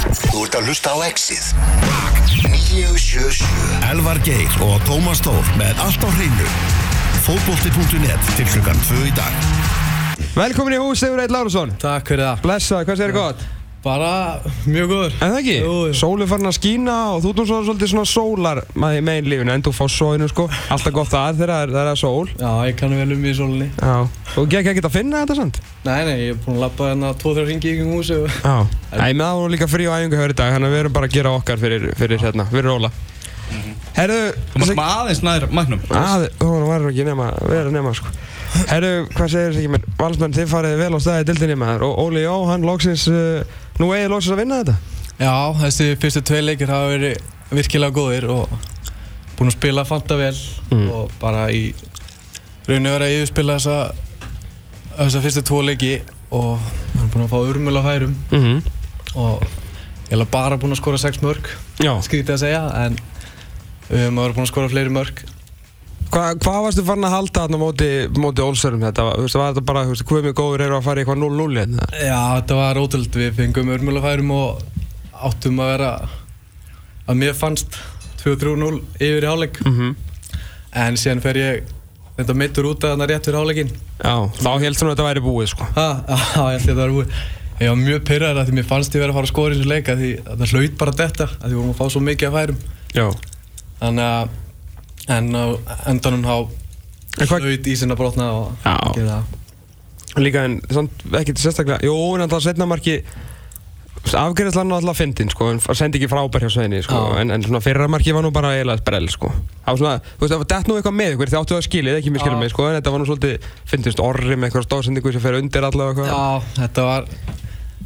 Þú ert að hlusta á Exið 977 Elvar Geir og Tómas Þór með allt á hreinu. Fótbolti.net til klukkan 2 í dag. Velkomin í hús, Sigur Eitt Lárusson Takk fyrir það Blessa, hvað sér gott? Bara mjög góður En það ekki? Jú, jú. Sólu farin að skína og þú ert nú svo- svolítið svona sólar maður í meginlífinu en þú fá sóinu sko Alltaf gott að þegar það er- það er að sól Já, ég kannu vel um í sólinni Já Og gekk ekki að finna þetta samt? Nei, nei, ég er búinn að labba hérna 2-3 ringi í kring húsi og... Já Æ, með það voru líka frí og æfingu hér í dag Þannig að við erum bara að gera okkar fyrir, fyrir hérna, fyrir róla Herðu Ah, Þú mátt koma aðeins nær magnum að, Hún var ekki nema, vera nema sko Herru, hvað segir þessi ekki mér? Valsmenn, þið farið vel á staði dildinni maður Og Óli Jó, hann loksins, uh, nú eigið loksins að vinna þetta Já, þessi fyrstu tvei leikir hafa verið virkilega góðir og búinn að spila fanta vel og bara í rauninu verið að yfirspila þessa þessa fyrstu tvo leiki og hann er búinn að fá urmul á hærum mm og ég er bara búinn að skora 6 mörg Já skrítið að segja, en við höfum að vera búin að skora fleiri mörg Hva, hvað varstu farin að halda þarna á móti, móti Olsörum þetta? Þú veist, var þetta bara, þú veist, hvað mjög góður eru að fara í eitthvað 0-0 hérna? Já, þetta var ótrúld. Við fengum örmjölafærum og áttum að vera, að mér fannst, 2-3-0 yfir í hálfleik. Mhm. En síðan fer ég þetta meittur út að þarna rétt fyrir hálfleikinn. Já, þá heldur hún að þetta væri búið, sko. Ha, já, ég held ég að þetta var búið. Ég var mjög pyrraður að því mér fannst ég verið að fara að skora í þessu leika því að það hlaut bara þetta, að því vorum að fá svo mikið af færum. Já. Þannig að, en á endanum há En hvað- hlaut ísinn að brotna og Já. ekki það. Líka en, samt, ekkert sérstaklega, jú, en alltaf setna marki, afgerðislan var alltaf fyndin, sko, en f- sendi ekki frábær hjá Sveini, sko, Já. en, en svona fyrra marki var nú bara eiginlega sprell, sko. Það var svona, þú veist, það var dett nú eitthvað með ykkur, þið áttu það skilið, ekki mér skilum Já. mig, sko, en þetta var nú svolítið, fyndist orri með eitthvað stóðsendingu sem fer undir allavega eitthvað. Já, þetta var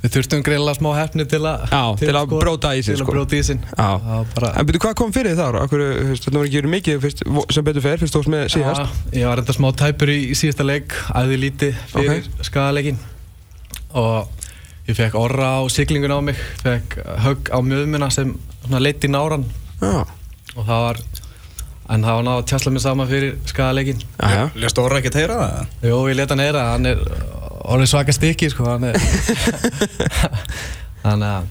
Við þurftum greinlega smá hefni til að Já, til að skora- bróta ísinn, Til sko. að bróta ísinn Já. Það var bara En byrju, hvað kom fyrir þar? Akkur, hefst, þetta var ekki verið mikið fyrst, vo- sem betur fer, fyrst þú varst með síðast. Já, Ég var enda smá tæpur í síðasta leik Æði lítið fyrir Ok. okay. skadaleikin Og ég fekk orra á siglingun á mig Fekk högg á mjöðmuna sem svona leitt í náran Já. Og það var En það var náða að tjásla mig sama fyrir skadaleikin Jæja. Lest orra ekki að heyra það? Jó, ég leta hann heyra að Hann er orðið svaka stykki, sko Hann er Þannig að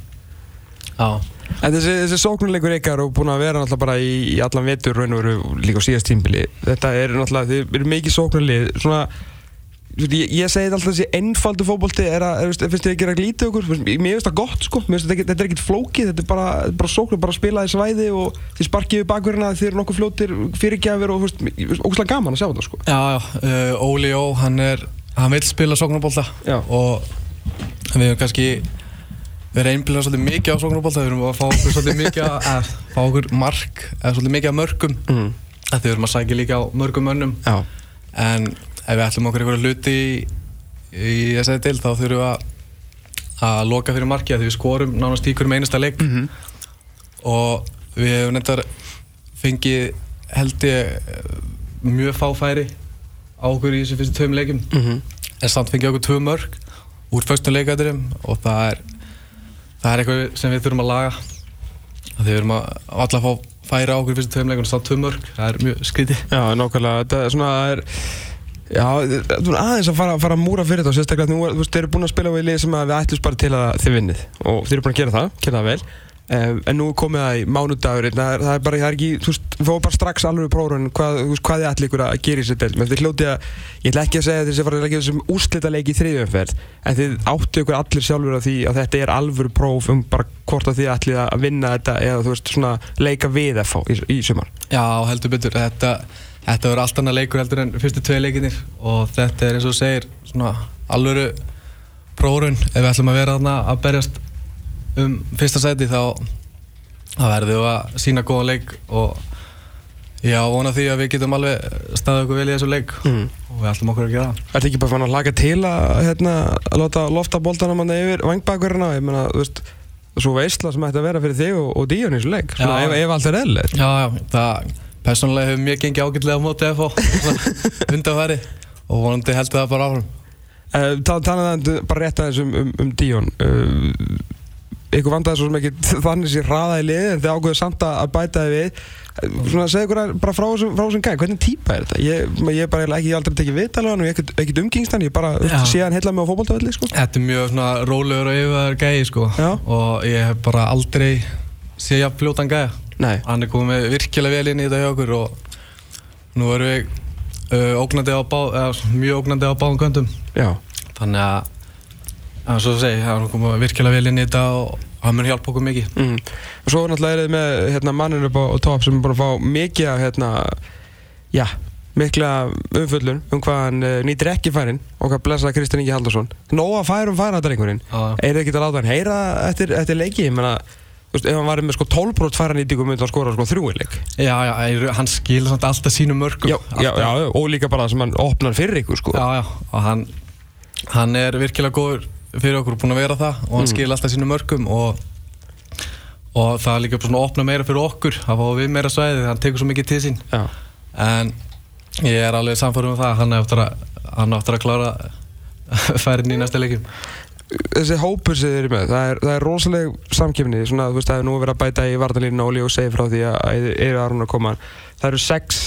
Já, En þessi, þessi sóknarleikur ykkar og búin að vera náttúrulega bara í, í allan vetur raun og veru og líka á síðast tímbili þetta er náttúrulega, þið eru mikið sóknarlið svona, þú veist, ég, ég segi þetta alltaf þessi einfaldu fótbolti er að, er, veist, finnst þið ekki að glýta ykkur, Þú veist, mér finnst það gott sko, mér finnst þetta ekki, þetta er ekkit flókið þetta er bara, þetta er bara sóknar, bara að spila í svæði og þið sparkið við bakverðina, þið eru nokkuð fljótir fyrirgjafir og þú veist, mér finnst ógustlega gaman að sjá þetta sko. Já, já, uh, Óli Jó, hann er, hann vil spila sóknarbólta Já. og við höfum kannski verið einblíðan svolítið mikið á sóknarbólta, við höfum að fá okkur svolítið mikið að, að fá okkur mark, eða svolítið mikið að mörgum, Mm. að því við höfum að sækja líka á mörgum önnum, Já, en ef við ætlum okkur einhverja hluti í, í þessari deil þá þurfum við að, að loka fyrir marki, að því við skorum nánast í hverjum einasta leik Mhm. og við hefum nefndar fengið held ég eh, mjög fá færi á okkur í þessum fyrstu tveim leikum Mhm. en samt fengið okkur tvö mörg úr föstum leikaturum og það er það er eitthvað sem við þurfum að laga að við þurfum að alla fá færi á okkur í fyrstu tveim leikum og samt tvö mörg það er mjög skrítið Já, nákvæmlega, þetta er svona það er, Já, þú er aðeins að fara, fara að múra fyrir þetta og sérstaklega nú, er- þú veist, þeir eru búin að spila á í lið sem að við ætlum bara til að þið vinnið og þeir eru búin að gera það, gera það vel um, en nú er komið það í mánudagurinn það, er- það er bara, það er ekki, þú veist, við fáum bara strax alveg prófrun hvað, þú veist, hvað þið ætli ykkur að gera í sér delt, menn þið hljótið að ég ætla ekki að segja að þið sé farið að leggja þessum úrslita leik í þriðjöfumferð, en þið áttu ykkur allir sjálfur að því að þetta er alvöru próf um bara hvort að þið ætlið að vinna þetta eða, þú veist, svona leika við að fá í, í sumar Já, heldur betur. Þetta, þetta verður allt annað leikur heldur en fyrstu tvei leikinir og þetta er eins og þú segir svona alvöru prórun ef við ætlum að vera þarna að berjast um fyrsta seti þá þá verðum við að sína góðan leik og ég á vona því að við getum alveg staðið okkur vel í þessu leik Mm. og við ætlum okkur að gera það. Ertu ekki bara fann að laga til að, hérna, að láta lofta boltanum hann yfir vangbakverðina? Ég meina, þú veist, svo veistla sem ætti að vera fyrir þig og, og Díón í þessu leik. Svona, Já. ef, ef allt er eðlilegt. Já, já, það persónulega hefur mér gengið ágætlega á móti FH undanfæri og vonandi heldur það bara áfram. Eh, Uh, Talað það bara rétt aðeins um, um, um Díón. Uh, um ykkur vandaði svo sem ekki þannig sér hraða í liði en þið ákveðu samt að að bæta þið við Eh, svona segðu ykkur að- bara frá þessum, frá þessum gæ hvernig típa er þetta? Ég, ég er bara eiginlega ekki, ég hef aldrei tekið viðtal á hann og ég hef ekkert- ekkert umgengst hann ég bara þú veist, Já. sé hann heilla með á fótboltavelli sko. Þetta er mjög svona rólegur og yfirvegar gæi sko Já. og ég hef bara aldrei séð jafn fljótan gæja Nei. Hann er komið virkilega vel inn í þetta hjá okkur og nú erum við uh, ógnandi á bá, eða, mjög ógnandi á báðum göndum Já, þannig að að svo segi, hann er komið virkilega vel inn í þetta og hann mun hjálpa okkur mikið mm. og svo náttúrulega er þið með hérna, mannin upp á, á topp sem er búin að fá mikið af hérna, já, mikla umföllun um hvað hann uh, nýtir ekki færin og hvað blessaða Kristján Ingi Halldórsson Nóa færum færa þetta einhverjinn Já. er þið ekki að láta hann heyra eftir, eftir leiki ég meina, þú veist, ef hann var með sko 12 brot færa nýtingu myndi hann skora sko þrjúi leik Já, já, ég- hann skilur samt alltaf sínum mörgum já, já, Alltaf. já, og líka bara sem hann opnar fyrir ykkur sko Já, já, og hann, hann er virkilega góður fyrir okkur búin að vera það og hann mm. skilur alltaf sínum mörgum og, og það er líka bara svona að opna meira fyrir okkur að fá við meira svæðið, hann tekur svo mikið til sín Já. en ég er alveg samfórum um það, hann er eftir að, hann á eftir að klára færin í næsta leikum þessi hópur sem þið eru með, það er, það er rosaleg samkefni, svona þú veist það er nú verið að bæta í vartalínu Óli og segja frá því að eru Aron að koma, það eru sex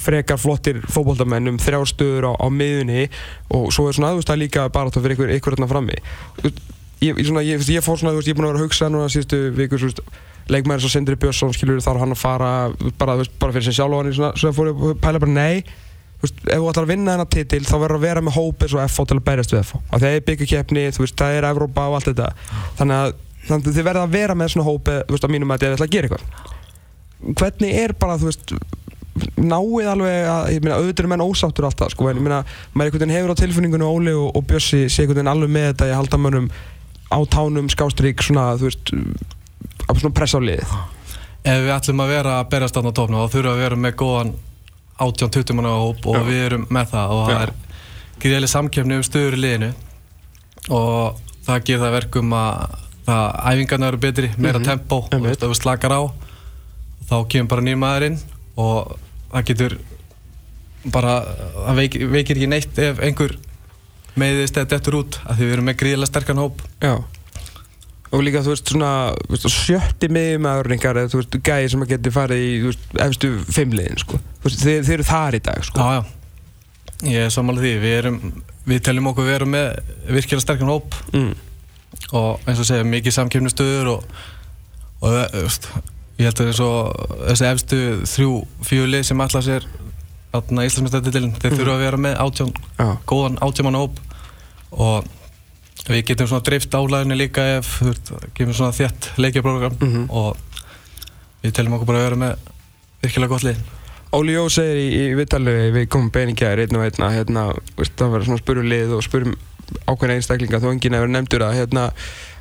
frekar flottir fótboltamenn um þrjá stöður á, á miðunni og svo er svona þú veist það er líka bara fyrir ykkur, ykkur hérna frammi Þú veist, ég, ég, svona, ég, þú veist, ég fór svona, þú veist, ég er búin að vera að hugsa núna síðustu vikur, þú veist leikmæður svo Sindri Björnsson skilur þar hann að fara bara, þú veist, bara fyrir sig sjálf og hann svona, svona fór ég að pæla bara nei þú veist, ef þú ætlar að vinna þennan titil þá verður að vera með hóp eins og FO til að berjast við FO og það er byggjarkeppni, þú veist, það er Evrópa og allt þetta þannig að, þannig að þið verða að vera með svona hóp, eh, þú veist, að mínum að þið ætla að gera eitthvað hvernig er bara, þú veist náið alveg að, ég meina, auðvitað er menn ósáttur alltaf, sko, en ég meina maður einhvern veginn hefur á tilfinningunum Óli og, og Bjössi sé einhvern veginn alveg með þetta í að halda mönnum á tánum, skástrík, svona, þú veist að svona pressa á liðið ef við ætlum að vera að berjast þarna á topnum þá þurfum við að vera með góðan 18-20 manna hóp og Já. við erum með það og það Já. er greiðileg samkefni um stöður í liðinu og það gerir það verkum að það æfingarna eru betri, meira mm -hmm. tempó og Mhm. Einmitt. ef við slakar á þá kemur bara nýr maður inn og það getur bara, það veik, veikir ekki neitt ef einhver meiðist eða dettur út að því við erum með greiðilega sterkan hóp Já Og líka þú veist svona þú veist, sjötti miðjumæðurinn ykkar eða þú veist gæði sem að geti farið í þú veist, efstu fimmliðin sko Þú veist, þeir, þeir eru þar í dag sko Já, já. Ég er sammála því. Við, erum, við teljum okkur vera með virkilega sterkan hóp mm. og eins og segja mikið samkjöfnustöður og, og eh, þú veist, ég held að eins og þessi efstu þrjú fjöli sem allar sér átna Íslandsmyndstættitilinn, þeir þurfa að vera með átján, Mm. Já. góðan átjámanna hóp og við getum svona dreift álæðinu líka ef þú veist, gefum svona þétt leikjaprogram Mhm. og við teljum okkur bara að vera með virkilega gott lið. Óli Jó segir í, í vittalegu við komum beiningar einn og einn að hérna, þú veist, það var svona spurjum lið og spurjum ákveðna einstaklinga þó enginn hefur nefndur að hérna,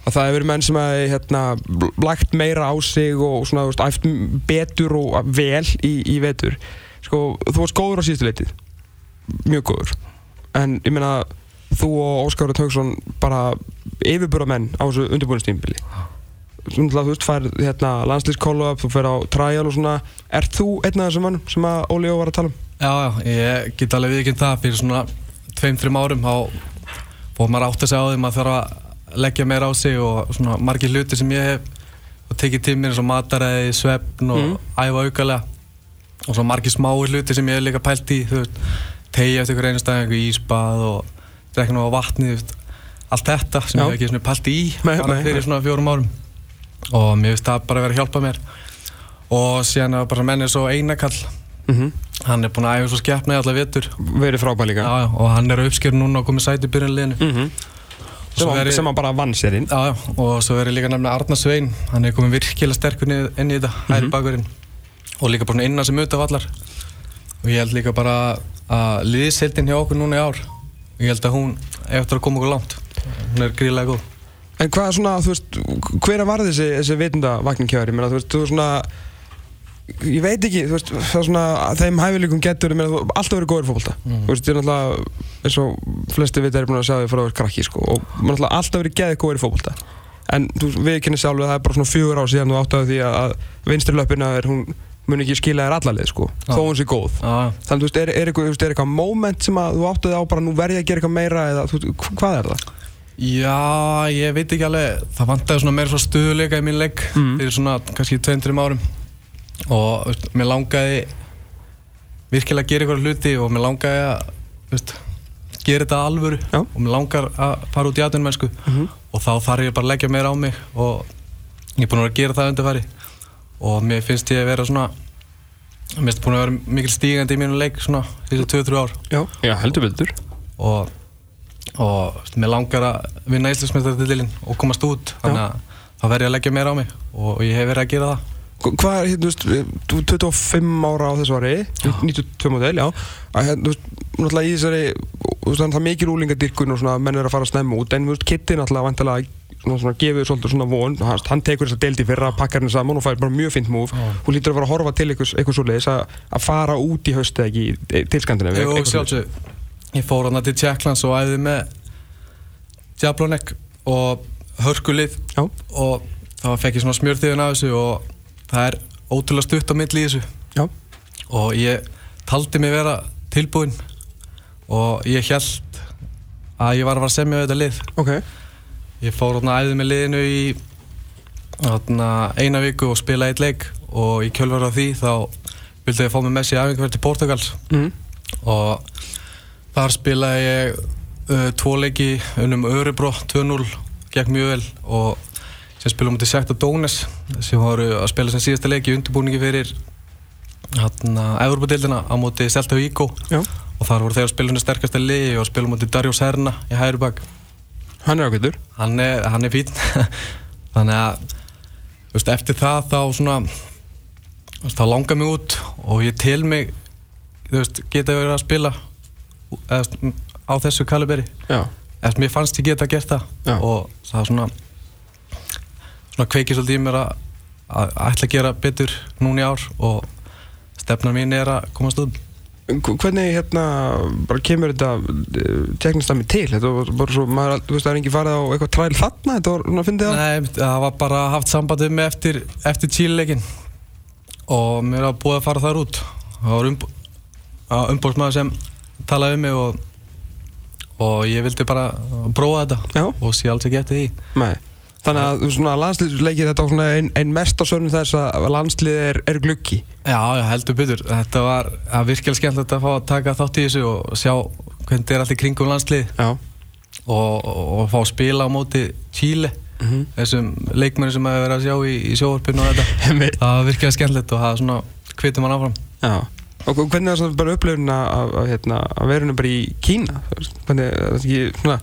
að það hefur verið menn sem að hérna, bl- lagt meira á sig og svona þú veist, æft m- betur og vel í, í vetur sko, þú varst góður á síðustu leitið mjög góður en ég meina þú og Óskar Örn Hauksson bara yfirbúra menn á þessu undirbúinustýmbili þú náttúrulega, þú veist, færð hérna, landslýskóla þú fer á trial og svona ert þú einn af þessum mönnum sem að Óli Jó var að tala um? Já, já, ég get alveg viðkynnt það fyrir svona tveim, þrim árum þá fór maður átt að segja á því maður þarf að leggja meira á sig og svona margir hluti sem ég hef og tekið tíminn eins og mataræði, svefn Mhm. og æfa aukalega og svona margir smáir hluti sem ég hef líka pælt í þú veist, tegja eftir ykkur einu stað einhver ísbað og drekna á vatni þú veist, allt þetta sem Já. ég hef ekki svona pælt í Nei, bara nei, nei. fyrir svona fjórum árum og mér finnst það bara vera að hjálpa mér og síðan að bara mennir svo einakall Mm Mhm. -hmm. Hann er búinn að æfa svo skeppna í alla vetur verið frábæð já, líka já, og hann er á uppskeru núna og komið sæti í byrjanleginu mm sem, Svo hann, verið- sem hann bara vann sér inn Já, já, og svo verður líka nefnilega Arna Svein hann er komið virkilega sterkur niður- inn í þetta hæri bakurinn og líka bara svona innan sem auðvitað vallar og ég held líka bara að liðsildin hjá okkur núna í ár ég held að hún er eftir að koma okkur langt hún er gríðlega góð En hvað er svona, þú veist, hver var þessi, þessi vitundavakning hjá þér? Ég meina, þú veist, þú svona, ég veit ekki, þú veist, það er svona, þeim hæfileikum getur, ég meina, þú alltaf verið góður í fótbolta. Mhm. Þú veist, ég er náttúrulega, eins og flesti vita er búin að sjá því frá þér krakki, sko, og maður náttúrulega alltaf verið geðið góður í fótbolta. En þú við kynni sjálf að það er bara svona fjögur ár síðan þú áttaði því að, að vinstri löppina er, hún mun ekki skila þér allalið, sko, Já. þó hún sé góð. já, já. Þannig, þú veist, er, er, eitthvað, þú veist, er eitthvað moment sem að þú áttaði á bara nú verði að gera eitthvað meira eða, þú veist, hv- hvað er það? Já, ég veit ekki alveg Það vantaði svona meira svona stöðuleika í minn leik Fyrir svona kannski 200 árum Og veist, mér langaði Virkilega að gera ykkur hluti Og mér langaði að veist, Gera þetta af alvöru Já. Og mér langar að fara út í atvinnumennsku Og þá þarf ég bara að leggja meira á mig Og ég er búinn að vera að gera það undirfæri Og mér finnst ég að vera svona Mér finnst búin að vera mikil stígandi í mínum leik Svona þessi 2-3 ár Já, já heldur betur og, og veist, mér langar að vinna Íslandsmeistartitilinn og komast út þannig að það verði að leggja meira á mig og ég hef verið að gera það Hva- Hvað er, hérna, þú veist, þú ert 25 ára á þessu ári, 92 mótel, já að, hérna, Þú veist, náttúrulega í þessari þú veist, það er mikið rúlingadirkun og svona menn er að fara að snemma út en, þú veist, Kitty náttúrulega vantilega svona, svona gefið þér svolítið svona von hann, hann tekur þess að deildi fyrra, pakkar henni saman og fær bara mjög fint múf hún lítur að fara að horfa til eitthvað, eitthvað svoleiðis að að fara út í haust eða ekki í- til Skandinavíu Jú, eitthvað svoleiðis. sjálfsög, ég fór hann til Tjekklands og æði með Djablonek og Hörkulið Já. og þá fekk ég svona smjörþiðin af þessu og það er ótrúlega stutt á milli í þessu Já, og ég taldi mig vera tilbúinn og ég held að ég var að fara að semja við þetta lið ok Ég fór hérna æðið með liðinu í hérna, eina viku og spilaði eitt leik og í kjölvar á því þá vildi ég fá mig með sér æfingarverð til Portugals mm. og þar spilaði ég uh, tvo leiki unum Örebro 2-0 gekk mjög vel og sem spilum við til Sekta Dónes sem voru að spila sem síðasta leiki í undirbúningi fyrir hérna, Evropadeildina á móti Celta Vigo Já. og þar voru þeir að spila henni sterkasta liði og spilum móti Darjós Herna í hægri bak Hann er ákveitur hann er, hann er fín þannig að þú veist, eftir það þá svona þú veist, þá langar mig út og ég tel mig þú veist, geta verið að spila eða, þú veist, á þessu kaliberi Já, eftir mér fannst ég geta gert það Já. og það svona svona kveikið svolítið í mér að, að ætla að gera betur núna í ár og stefna mín er að komast út Hv- hvernig hérna bara kemur þetta teknistami til þetta var bara svo, maður, al- þú veist það er engin farið á eitthvað træl þarna, þetta var svona að fyndi það Nei, það var bara haft samband við mig eftir, eftir Chile-leikin og mér var búið að fara þar út það var umb umbóðsmaður sem talaði um mig og, og ég vildi bara prófa þetta Já. og sé alls ekki eftir því Nei. þannig að þú veist, svona landsliðsleikið þetta var svona ein, ein mesta sönn þess að landslið er, er gluggi Já, já, heldur byttur. Þetta var það er virkilega skemmtilegt að fá að taka þátt í þessu og sjá hvernig þetta er allt í kringum landslið Já, og, og, og fá að spila á móti Chile Mhm. þessum leikmennum sem hefur verið að sjá í, í sjóvarpinu og þetta Einmitt. það var virkilega skemmtilegt og það svona hvitum hann áfram já Og hv- hvernig var svona bara upplifun að, að, að, hérna, að veruna bara í Kína Þú veist, hvernig, það er ekki svona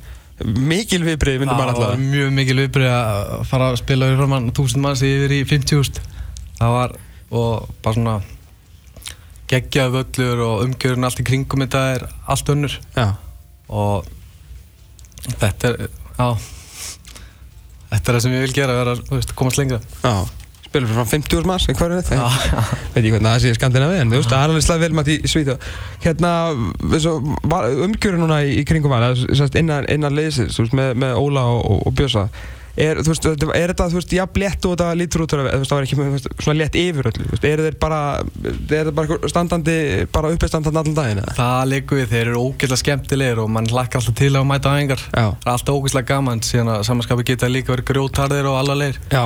mikil viðbrið myndum bara Það var alltaf mjög mikil viðbrið að fara að spila í framann 1000 manns yfir í 50.000 Það var og bara svona geggjaði völlur og umgjörun allt í kringum þetta er allt önnur Já, og þetta er á, þetta er það sem ég vil gera vera, þú veist, komast lengra já Spilum fyrir frá 50 úr maður, hvað er þetta? Já, já. veit ég hvernig það sé skandinavi en þú veist, það er alveg slæð velmætt í Svíþjóð hérna, svo, var, umgjörun núna í, í kringum hann, sérst, innan, innan leysins, þú veist, með, með Óla og, og, og Bjösa er, þú veist, þetta- er þetta, þú veist, jafn létt og þetta lítur út, úr að- þú veist, það var ekki þú veist, svona létt yfir öllu, þú veist, er þeir bara er þeir bara einhver standandi, bara uppistandandi allan daginn, eða? Það leikur við, þeir eru ógeðslega skemmtilegir og mann hlakkar alltaf til að mæta á engar Já. Það er alltaf ógeðslega gaman síðan að samanskapi geta líka verið grjótarðir og alvarlegir Já,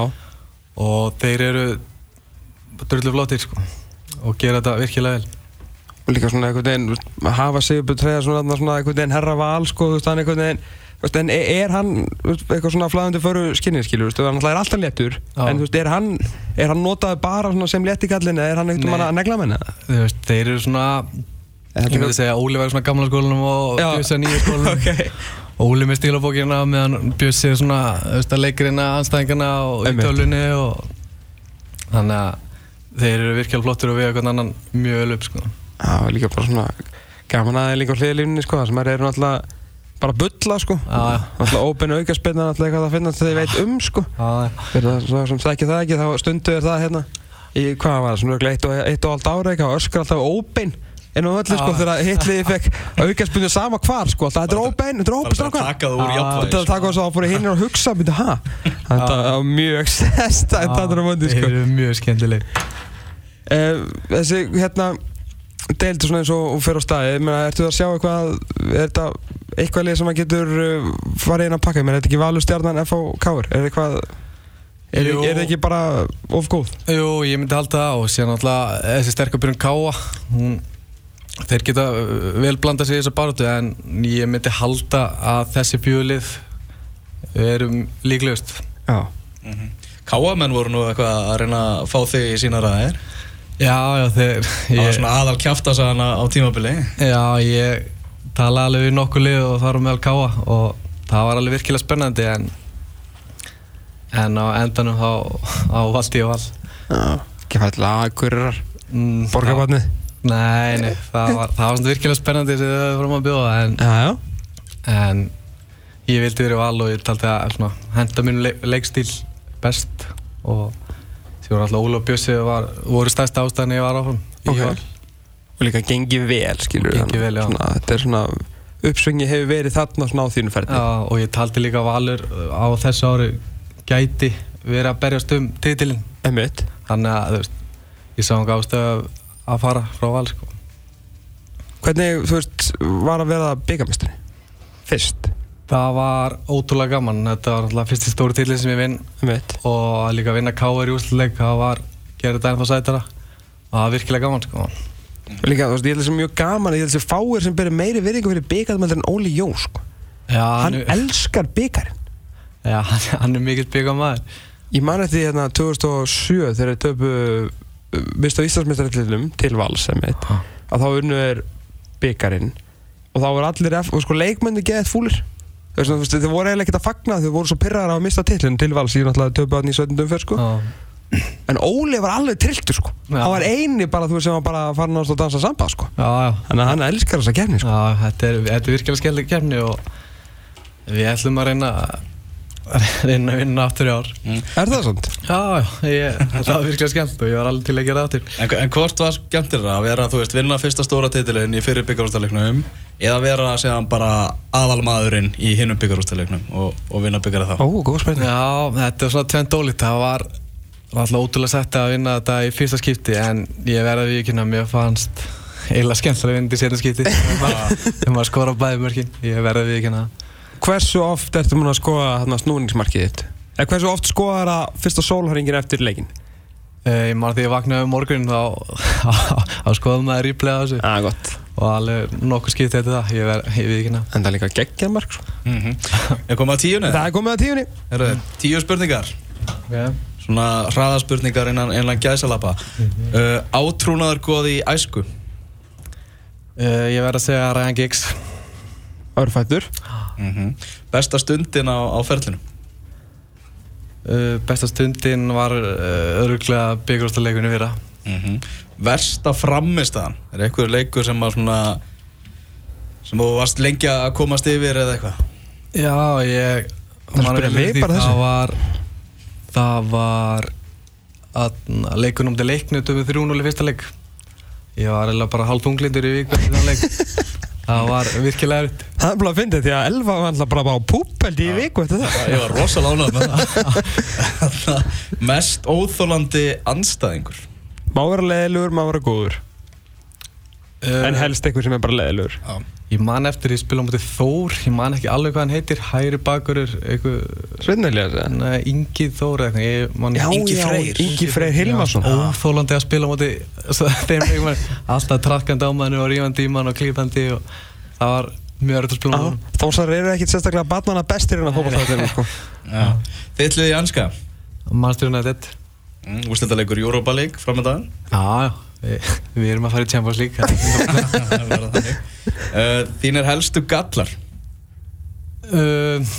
og þeir eru drullu flottir sko og gera þetta virkilega vel og líka svona einhvern veginn, þú veist, að hafa Sigurbjörn Treyja svona, þarna svona einhvern veginn herra val, sko, þú veist, hann einhvern veginn þú veist, En e, er er hann þú veist, eitthvað svona flæðandi föru skinnið, skilur, þú veist, hann náttúrulega er alltaf léttur Já. En þú veist, er hann, er hann notaði bara svona sem létt í kallinu, er hann einhvern Nei. veginn að negla menna? Þú veist, þeir eru svona ég myndi segja að Óli væri svona gamla skólanum og Já. Bjössi að nýja skólanum Ok. Óli með stílabókina meðan Bjössi er svona þú veist, að leikrina, anstæðingana og í Einmitt. tölunni og þannig að þeir eru virkilega flottir og við eitthvað annan mjög vel upp sko Já, líka bara svona gaman aðeins líka á hliðlífni, sko, þar sem maður eru náttúrulega bara að bulla, sko Já, já. Náttúrulega óbein aukaspenna, náttúrulega eitthvað það finnast þegar þið veit um, sko Já, Fyrir það svo sem þekki það ekki, þá stundu er það hérna í hvað var það, svona örugglega eitt og, eitt og allt ára eitthvað, öskra alltaf óbein en á öllu sko Já. þegar hitliði fekk aukaspunni sama hvar sko, alltaf þetta er óbein, þetta er óbein Það er Ah. bara strákar. að taka það úr sko. Ah, jafnvægi Þetta er að taka þess að það fóru hinnir að hugsa, myndi, ha? Þetta Ah. er mjög stærst að þetta er á sko. já, mundi þeir sko. eru mjög skemmtileg Eh, Þessi, hérna, deild svona eins og, og fer á staði menna, ertu að sjá eitthvað er þetta eitthvað lið sem maður getur uh, farið inn að pakka, menn er þetta ekki valur stjarnan FHK er þetta eitthvað er, er Jú. þetta ekki bara of góð Jú, ég myndi halda það og síðan alltaf þessi sterkur byrjun Káa hún, þeir geta uh, vel blanda sig í þessa baróttu en ég myndi halda að þessi bjölið eru líklegust já, Káamenn voru nú eitthvað að reyna að fá þig í sína ræðir Já, já, þeir Það var ég, svona aðal kjaftasagana á tímabili Já, ég talaði alveg við nokkuð lið og þar á meðal Káa og það var alveg virkilega spennandi en en á endanum þá á valdi og val já. ekki fæll aðgurir mm, það- borgarbarnið Nei, nei, það var, það var svona virkilega spennandi sem þau fórum að bjóða en já, já en ég vildi verið val og ég taldi að svona, henda mínu leik, leikstíl best og því voru alltaf Óla og Bjössi var, voru stærst ástæðan ég var áfram í Ok. val. og líka gengið vel skilur Gengið vel, já. svona, þetta er svona uppsvingi hefur verið þarna svona á þínu ferdi Já, og ég taldi líka að Valur á þessu ári gæti verið að berjast um titilinn einmitt þannig að þú veist, ég sá hann ástöð að fara frá val sko. hvernig þú veist var að vera byggamestri fyrst það var ótrúlega gaman þetta var alltaf fyrsti stóri titilinn sem ég vinn einmitt og að líka vinna K.R. í úrsluleik það var, gerði þetta ennþá sætara og það var virkilega gaman sko. og líka þú veist ég held þessi mjög gaman ég held þessi fáir sem berir meiri virðingu fyrir byggamestri en Óli Jó sko Já, hann nú- elskar byggarinn Já, hann, hann er mikill byggamæður. ég man eftir því hérna 2007 þegar þeir töpu mista Íslandsmeistarillinum til Vals einmitt Ha. að þá unnu er byggarinn og þá voru allir F, og sko leikmenni geðið fúlir Þú veist, þú veist, þeir voru eiginlega ekkert að fagna þau voru svo pyrraðar á að mista titlinn til Vals ég náttúrulega töpu hann í 17. fyrr sko en Óli var alveg trilltur sko Já. hann var eini bara þú veist, sem var bara farin að dansa samba sko Já, já. þannig að hann elskar þessa kefni sko já þetta, er, þetta er virkilega skemmtileg kemni og við ætlum að reyna að reyna að vinna aftur í ár. er það sant? Já, já, ég, það var virkilega skemmt og ég var alveg til að gera það aftur. En, en hvort var skemmtir að vera, þú veist, vinna fyrsta stóra titilin í fyrir byggarústaleiknum eða vera séðan bara aðalmaðurinn í hinnum byggarústaleiknum og, og vinna byggara þá ó, góð spurning Já, þetta var svona tvent ólíkt. Það var var alltaf ótrúlega sett að vinna þetta í fyrsta skipti en ég verði að viðkynna að mér fannst eiginlega skemmtilega að vinna þetta í setna skipti þegar maður- þegar maður skora bæði mörkin. Ég verði að viðkynna það. hversu oft ertu mun að skoða þarna snúningsmarkið þitt? Eða hversu oft skoðar það fyrsta sólhöringin eftir leikin? Eh, Ég maður því ég vaknaði um morgun þá, þá skoðum maður replay á þessu Já, ah, gott. og alveg nokkuð skipt þetta það, ég verð, ég við ekki ná. En það er líka geggjað mark. Sko. mm Er komið að tíunni? Það er komið að tíunni. Heru, tíu spurningar Svona hraðaspurningar innan, innan gæsalappa Mhm. uh, Átrúnaður góði í æsku Uh, ég verð að segja Ryan Giggs, Örfættur. mm Mhm. Besta stundin á, á ferlinu uh, besta stundin var uh, öruglega byggjúrstaleikunni fyrra. mm Versta frammistaðan Er einhver leikur sem að svona sem þú varst lengi að komast yfir eða eitthvað Já, ég... Það er að man spyrja ekki mig eftir því, bara þessu. Það var, það var um að leikunum til leiknu töfum 3-0 í fyrsta leik. Ég var eiginlega bara hálf tunglindur í viku eftir þann leik. það var virkilega erfitt. Það er bara að fyndið því að Elva var alltaf bara bara púpeld í viku eftir það. Ég var rosalega ánægð með það Mest óþólandi anstæðingur Má vera leðilegur, má vera góður. Uh, En helst einhver sem er bara leðilegur. Ég man eftir ég spila á móti Þór, ég man ekki alveg hvað hann heitir, hægri bakurur, eitthvað, Svinnarlega það. nei, eh, Ingi Þór eða eitthvað, ég man Ingi Freyr. Ingi Freyr Hilmarsson. Óþólandi að spila á móti svo þeim leikmann, alltaf trakkandi á mann og rífandi í mann og klípandi og það var mjög erfitt að spila á Mm. móti. honum. Þósar eru ekkit sérstaklega batnana bestir sko. en að fópa það til. Þið ætluðu í anska Manchester United, mm, Úrslitaleikur Europa League framöndaðan já, já, við, við erum að fara í Champions League, það er uh, Þínir helstu gallar um, Eh,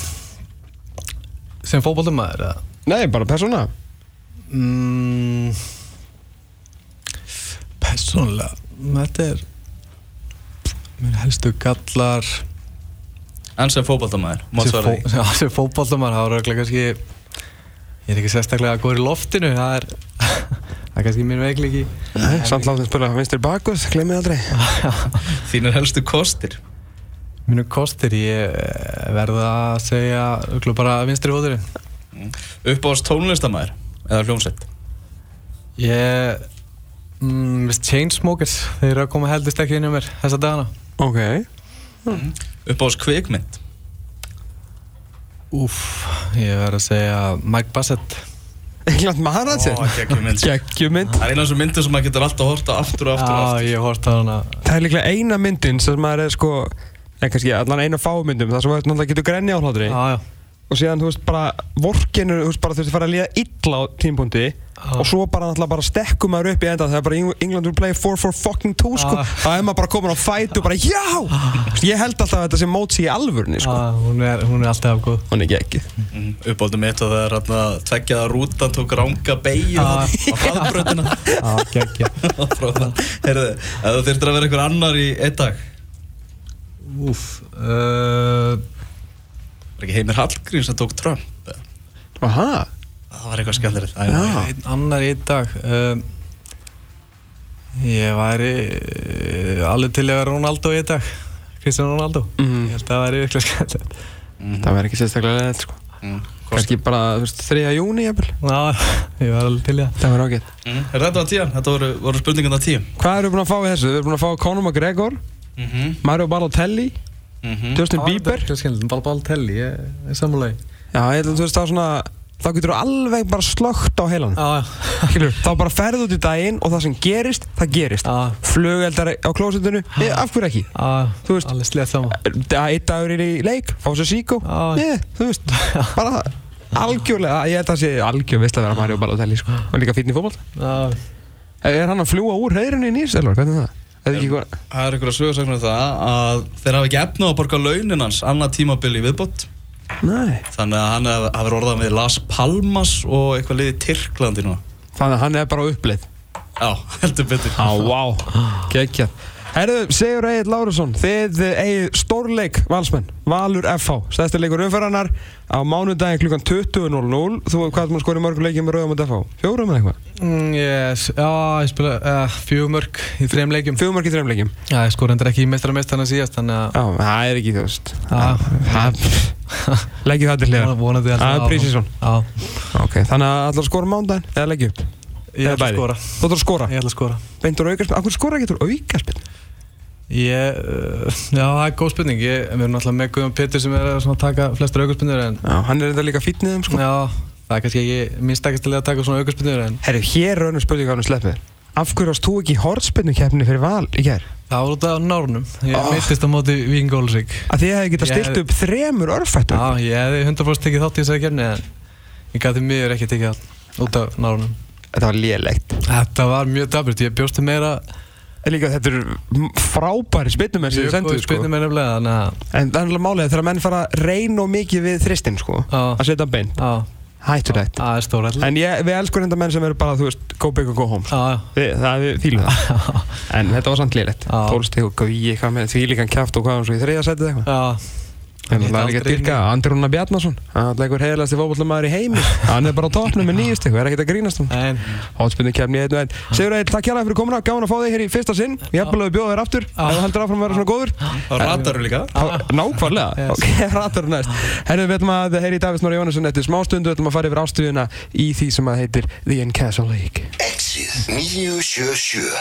sem fótbollumæður eða? Nei, bara persóna. Mm, Persónlega Þetta er Mér helstu gallar En sem fótballtamaður Mátt sem svara því fó- Já, sem fótballtamann Það er örugglega kannski Ég er ekki sérstaklega góður í loftinu Það er Það er kannski mér veikleiki Eh, Samt látið spila vinstir bakuð, glemir aldrei. Þínir helstu kostir Mínu kostir Ég verða að segja örugglega bara vinstri hóðurinn Uppáðast tónlistamæður Eða hljómsett Ég mm, veist, Chainsmokers, þeir eru að koma heldist ekki inn hjá mér þessa dagana Ok Upp á þess kvikmynd Úff, ég verð að segja Mike Bassett England Maratse Ó, geggjum mynd Geggjumynd Það er eina af þessum myndum sem maður getur alltaf að horta aftur og aftur og Já, aftur ég hort á hana Það er líklega eina myndin sem maður er sko eða kannski allan eina fámyndum þar sem maður náttúrulega getur grenni á hlátri Já, já, og síðan þú veist bara vorkinur, þú veist bara þú veist að fara að líða illa á tímpundi Já. og svo bara náttúrulega bara stekkum maður upp í enda þegar bara Eng- England will play 4 for fucking 2 sko Já. það er maður bara komin á fæt og bara já Þú veist, ég held alltaf að þetta sem mótsi í alvörni sko já, hún, er, hún er alltaf góð hún er ekki Mm, Uppáldum mitt og það er hérna tveggjaða rútan tók ranga beigju Ah. á hraðbrötina Já, geggja Herðu, ef þú þyrftir að vera einhver annar í einn dag Úff uh, Var ekki Heimir Hallgrín sem tók Trump eða? Aha. Það var eitthvað skemmtilegt Æ, Já. nei, Einn annar í einn dag uh, Ég væri uh, alveg til að vera Ronaldo í einn dag Kristján Ronaldo Mhm. Ég held að það væri virkilega skemmtilegt það verður ekki sérstaklega leðið sko mm, kannski bara þú veist 3. júni jafnvel Já, ég var alveg til í það það verður ágætt mm. Herðu, Þetta var tían, þetta voru, voru spurningan það tíum hvað erum við búin að fá í þessu? við erum búin að fá Conor McGregor mm Mhm. -hmm. Mario Balotelli Mm -hmm. Justin Bieber Það er skemmtilegt, bara bara telli, ég er sammálaði já ég held að þú veist það er svona þá getur þú alveg bara slögt á heilan Já, Skilur, þá bara ferðu út í daginn og það sem gerist, það gerist Já. Flugeldar á klósundinu, af hverju ekki? já, Þú veist- alveg slétt saman Það eitt dagur er í leik, fá sér síkó Já. Ég, þú veist, bara algjörlega Ég held að það sé algjör veist að vera Mario Balotelli sko. Og líka fínn í fótboll Já, Er hann að fljúa úr hreirinu í nýrselvar, hvernig er það? Er það ekki hvað? Það er eitthvað sögursaknum um það að þeir hafa ekki efna að borga launin hans annað tímabil í viðbót Nei þannig að hann hef- hafði orðað með Las Palmas og eitthvað liði Tyrklandi núna Þannig að hann er bara á uppleið Já, heldur betur Á, vá, geggjað Herðu, Sigur Egil Lárusson, þið eigið stórleik valsmenn, Valur FH stæðstu leikur umferðarnar á mánudaginn klukkan 20.00 þú, hvað er maður skorið mörgum leikið með rauðum og FH? Fjórum eða eitthvað? Mm, yes, já, ég spila uh, fjögumörk í þrejum leikjum Fjórum mörg í þreim leikim Já, ég skor hendur ekki í mestramestana síðast Þannig Já, það er ekki þú veist Já. Það- það- Leggjum það til að hliðar vonandi Það er áfram. prísísson Já, Ok, þannig að allar skora mánudaginn eða leggja upp ég Eða ætla bæði. að skora Þú ætlar að skora, Ég ætla að skora beintur aukarspinn Akkur skora getur aukarspinn? Ég, uh, já, það er góð spurning ég, Við erum náttúrulega með Guðum Pétur sem er að svona taka flestar aukurspinnur En Já, hann er þetta líka fítniðum sko já, það er kannski ekki Mín stakast til að taka svona aukurspinnur En Herru, hér er önnur spurning ánum sleppið þér. Af hverju varst þú ekki í hortspinnu keppni fyrir val í gær? það var út af nárnum Ég Ah. meittist á móti Víngólusík Að þið hefði getað Ég stilt hefði- upp þremur örfættum Já, ég hefði 100% tekið þátt í þessari kemni En ég gæti miður ekki tekið þátt út af nárnum Þetta var lélegt Þetta var mjög dabritt, ég bjósti meira Líka þetta eru m- frábæri spinnumenn sem þið sendu sko. spynni mér nefnilega Þannig að En það er alveg málið að þegar menn fara að reyna og mikið við þristinn sko, Já. að setja hann beint Já, Hættulegt það er stóræll En ég, við elskum reynda menn sem eru bara, þú veist, go big og go home sko. Já, við, Það við fýlum það En þetta var samt lélegt Já. Tólstig og gauði, hvað með því líkan kjáft og hvað hann svo í þriða setið eitthvað já En það er líka dyrka, Andri Rúnar Bjarnason Hann er eitthvað heilasti fótbollamæður í heimi Hann er bara á topnum með nýjust eitthvað, er ekkert að grínast um En, Hátspinnu kemni einn og einn Sigur Egil, takk hérlega fyrir komuna, gaman að fá þig hér í fyrsta sinn Ég hef alveg bjóða þér aftur, ef þú heldur áfram að vera svona góður Það ratar líka Þá- Nákvæmlega, Yes. ok, ratar næst Herðu, við ætlum að heyri Davís Nóri Jónasson eftir smástundu, við ætlum að fara yfir ástuðuna í því sem að heitir The Incastle League Exið 977